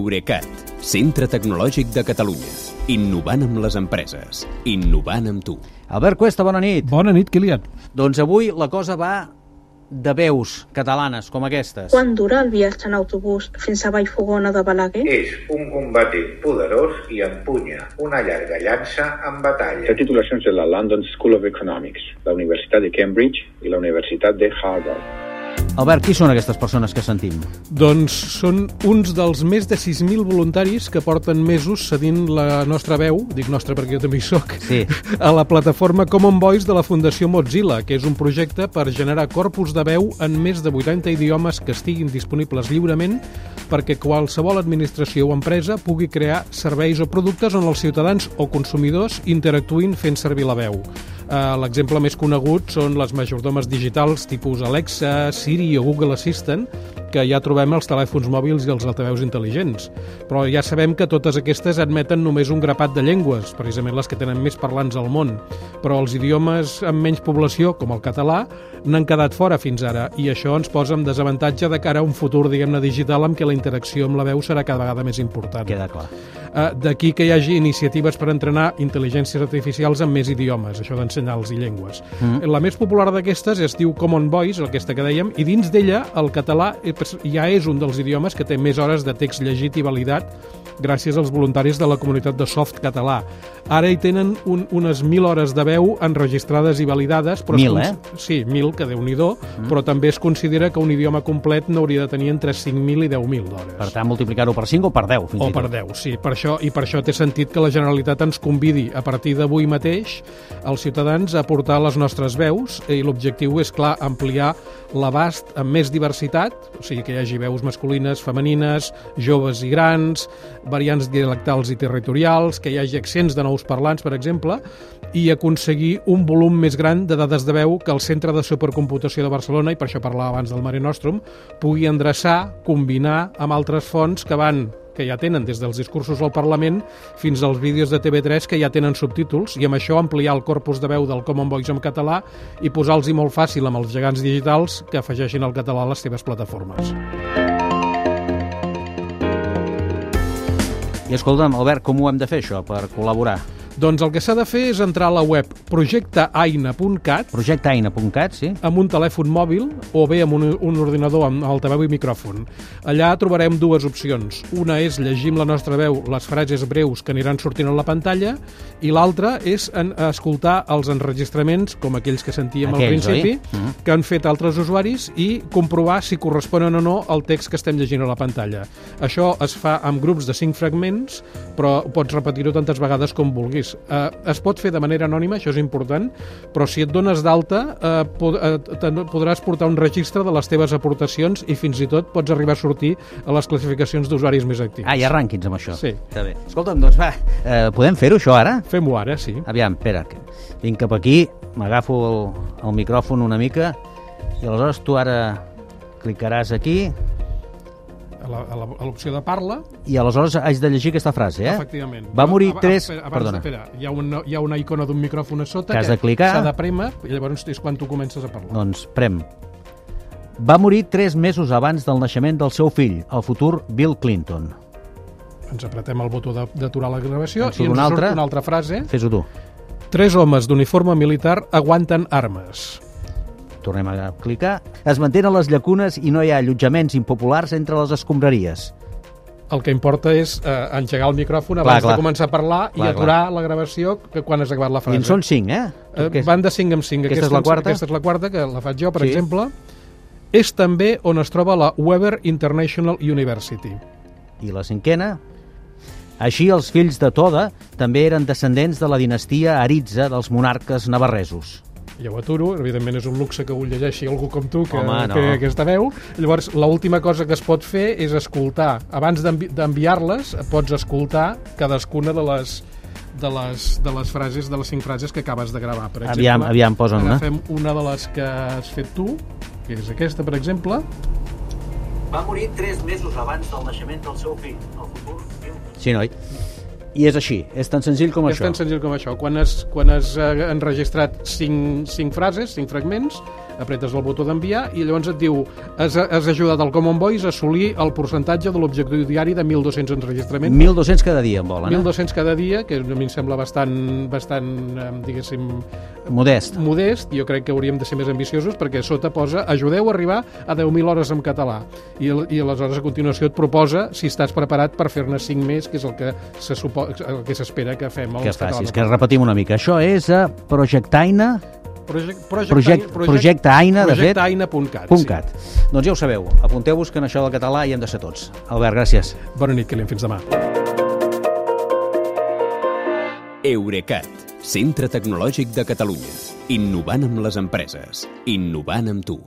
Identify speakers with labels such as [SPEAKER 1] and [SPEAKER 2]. [SPEAKER 1] Eurecat, centre tecnològic de Catalunya. Innovant amb les empreses. Innovant amb tu.
[SPEAKER 2] Albert Cuesta, bona nit.
[SPEAKER 3] Bona nit, Kilian.
[SPEAKER 2] Doncs avui la cosa va de veus catalanes com aquestes.
[SPEAKER 4] Quan dura el viatge en autobús fins a Vallfogona de Balaguer?
[SPEAKER 5] És un combatent poderós i empunya una llarga llança en batalla.
[SPEAKER 6] La titulació és de la London School of Economics, la Universitat de Cambridge i la Universitat de Harvard.
[SPEAKER 2] Albert, qui són aquestes persones que sentim?
[SPEAKER 3] Doncs són uns dels més de 6.000 voluntaris que porten mesos cedint la nostra veu, dic nostra perquè jo també hi soc,
[SPEAKER 2] Sí.
[SPEAKER 3] a la plataforma Common Voice de la Fundació Mozilla, que és un projecte per generar corpus de veu en més de 80 idiomes que estiguin disponibles lliurement perquè qualsevol administració o empresa pugui crear serveis o productes on els ciutadans o consumidors interactuïn fent servir la veu. Eh, L'exemple més conegut són les majordomes digitals tipus Alexa, Siri o Google Assistant, que ja trobem als telèfons mòbils i als altaveus intel·ligents. Però ja sabem que totes aquestes admeten només un grapat de llengües, precisament les que tenen més parlants al món. Però els idiomes amb menys població, com el català, n'han quedat fora fins ara, i això ens posa en desavantatge de cara a un futur, diguem-ne, digital amb què la interacció amb la veu serà cada vegada més important.
[SPEAKER 2] Queda clar.
[SPEAKER 3] Eh, D'aquí que hi hagi iniciatives per entrenar intel·ligències artificials en més idiomes, això d'ensenyar-los i llengües. Mm. La més popular d'aquestes es diu Common Voice, aquesta que dèiem, i dins d'ella el català eh, pres- ja és un dels idiomes que té més hores de text llegit i validat gràcies als voluntaris de la comunitat de soft català. Ara hi tenen un, unes 1.000 hores de veu enregistrades i validades. Però es
[SPEAKER 2] 1.000,
[SPEAKER 3] cons-
[SPEAKER 2] eh?
[SPEAKER 3] Sí, 1.000, que déu nhi mm. però també es considera que un idioma complet n'hauria de tenir entre 5.000 i 10.000 d'hores.
[SPEAKER 2] Per tant, multiplicar-ho per 5 o per 10, fins
[SPEAKER 3] O
[SPEAKER 2] i
[SPEAKER 3] per
[SPEAKER 2] tot.
[SPEAKER 3] 10, sí. Per això, I per això té sentit que la Generalitat ens convidi a partir d'avui mateix els ciutadans a portar les nostres veus i l'objectiu és, clar, ampliar l'abast amb més diversitat, o sigui que hi hagi veus masculines, femenines, joves i grans, variants dialectals i territorials, que hi hagi accents de nous parlants, per exemple, i aconseguir un volum més gran de dades de veu que el Centre de Supercomputació de Barcelona, i per això parlava abans del Mare Nostrum, pugui endreçar, combinar amb altres fonts que van que ja tenen des dels discursos al Parlament fins als vídeos de TV3 que ja tenen subtítols i amb això ampliar el corpus de veu del Common Voice en català i posar-los molt fàcil amb els gegants digitals que afegeixin el català a les seves plataformes.
[SPEAKER 2] I escolta'm, Albert, com ho hem de fer, això, per col·laborar?
[SPEAKER 3] Doncs el que s'ha de fer és entrar a la web projecteaina.cat
[SPEAKER 2] Projecteaina.cat, sí?
[SPEAKER 3] amb un telèfon mòbil o bé amb un, un ordinador amb altaveu i micròfon. Allà trobarem dues opcions. Una és llegir amb la nostra veu les frases breus que aniran sortint a la pantalla i l'altra és en, escoltar els enregistraments, com aquells que sentíem
[SPEAKER 2] Aquells,
[SPEAKER 3] al
[SPEAKER 2] oi?
[SPEAKER 3] principi,
[SPEAKER 2] Mhm.
[SPEAKER 3] que han fet altres usuaris i comprovar si corresponen o no al text que estem llegint a la pantalla. Això es fa amb grups de 5 fragments, però pots repetir-ho tantes vegades com vulguis. Eh, es pot fer de manera anònima, això és important, però si et dones d'alta eh, pod eh, te- podràs portar un registre de les teves aportacions i fins i tot pots arribar a sortir a les classificacions d'usuaris més actius.
[SPEAKER 2] Ah, hi ha rànquings amb això.
[SPEAKER 3] Sí.
[SPEAKER 2] Està bé. Escolta'm, doncs va, eh, podem fer-ho, això, ara?
[SPEAKER 3] Fem-ho ara, sí.
[SPEAKER 2] Aviam, espera, que vinc cap aquí, m'agafo el, el micròfon una mica i aleshores tu ara clicaràs aquí
[SPEAKER 3] A la- a la- a l'opció de parla,
[SPEAKER 2] i aleshores haig de llegir aquesta frase, eh?
[SPEAKER 3] Efectivament.
[SPEAKER 2] Va morir
[SPEAKER 3] Ab-
[SPEAKER 2] tres...
[SPEAKER 3] Espera, abans,
[SPEAKER 2] Perdona.
[SPEAKER 3] Espera, hi ha, una, hi ha una icona d'un micròfon a sota
[SPEAKER 2] Que has de clicar.
[SPEAKER 3] s'ha de prémer i llavors és quan tu comences a parlar.
[SPEAKER 2] Doncs prem. Va morir tres mesos abans del naixement del seu fill, el futur Bill Clinton.
[SPEAKER 3] Ens apretem el botó de- d'aturar la gravació
[SPEAKER 2] En surt
[SPEAKER 3] i ens
[SPEAKER 2] una altra.
[SPEAKER 3] surt una altra frase.
[SPEAKER 2] Fes-ho tu.
[SPEAKER 3] Tres homes d'uniforme militar aguanten armes.
[SPEAKER 2] Tornem a clicar. Es mantenen les llacunes i no hi ha allotjaments impopulars entre les escombraries.
[SPEAKER 3] El que importa és eh, engegar el micròfon
[SPEAKER 2] Clar,
[SPEAKER 3] abans
[SPEAKER 2] clar.
[SPEAKER 3] de començar a parlar
[SPEAKER 2] Clar,
[SPEAKER 3] i aturar la gravació que quan has acabat la
[SPEAKER 2] I
[SPEAKER 3] frase.
[SPEAKER 2] en són cinc, eh?
[SPEAKER 3] Eh,
[SPEAKER 2] Que és-
[SPEAKER 3] Van de 5 en 5.
[SPEAKER 2] Aquesta és la quarta?
[SPEAKER 3] Aquesta és la quarta, que la faig jo, per
[SPEAKER 2] Sí.
[SPEAKER 3] sí. exemple. És també on es troba la Weber International University.
[SPEAKER 2] I la cinquena? Així, els fills de Toda també eren descendents de la dinastia Aritza dels monarques navarresos.
[SPEAKER 3] ja ho aturo, evidentment és un luxe que ho llegeixi algú com tu que
[SPEAKER 2] Home, no.
[SPEAKER 3] té aquesta veu. Llavors, l'última cosa que es pot fer és escoltar. Abans d'envi- d'enviar-les, pots escoltar cadascuna de les de les, de les frases, de les cinc frases que acabes de gravar, per exemple.
[SPEAKER 2] Aviam, aviam, posa'm una.
[SPEAKER 3] Agafem una de les que has fet tu, que és aquesta, per exemple.
[SPEAKER 7] Va morir tres mesos abans del naixement del seu fill, el futur Bill
[SPEAKER 2] Sí, noi? I és així, és tan senzill com
[SPEAKER 3] És
[SPEAKER 2] això.
[SPEAKER 3] tan senzill com això. Quan has, quan has eh, enregistrat cinc, cinc frases, cinc fragments, apretes el botó d'enviar i llavors et diu has, has ajudat el Common Voice a assolir el percentatge de l'objectiu diari de 1.200 enregistraments
[SPEAKER 2] 1.200 cada dia en volen, eh?
[SPEAKER 3] 1.200 cada dia, que a mi em sembla bastant, bastant em, diguéssim,
[SPEAKER 2] Modest.
[SPEAKER 3] modest. Jo crec que hauríem de ser més ambiciosos perquè a sota posa ajudeu a arribar a 10.000 hores en català. I, al- I aleshores a continuació et proposa si estàs preparat per fer-ne 5 més, que és el que se supo... el que s'espera que fem els
[SPEAKER 2] Que
[SPEAKER 3] catalans.
[SPEAKER 2] facis, que repetim una mica. Això és a Projectaina,
[SPEAKER 3] Project,
[SPEAKER 2] Project, Projecte Aina, de fet,
[SPEAKER 3] projectaina.cat.
[SPEAKER 2] punt cat. Doncs ja ho sabeu, apunteu-vos que en això del català hi hem de ser tots. Albert, gràcies.
[SPEAKER 3] Sí. Bona nit, Kilian. Fins demà.
[SPEAKER 1] Eurecat, centre tecnològic de Catalunya. Innovant amb les empreses. Innovant amb tu.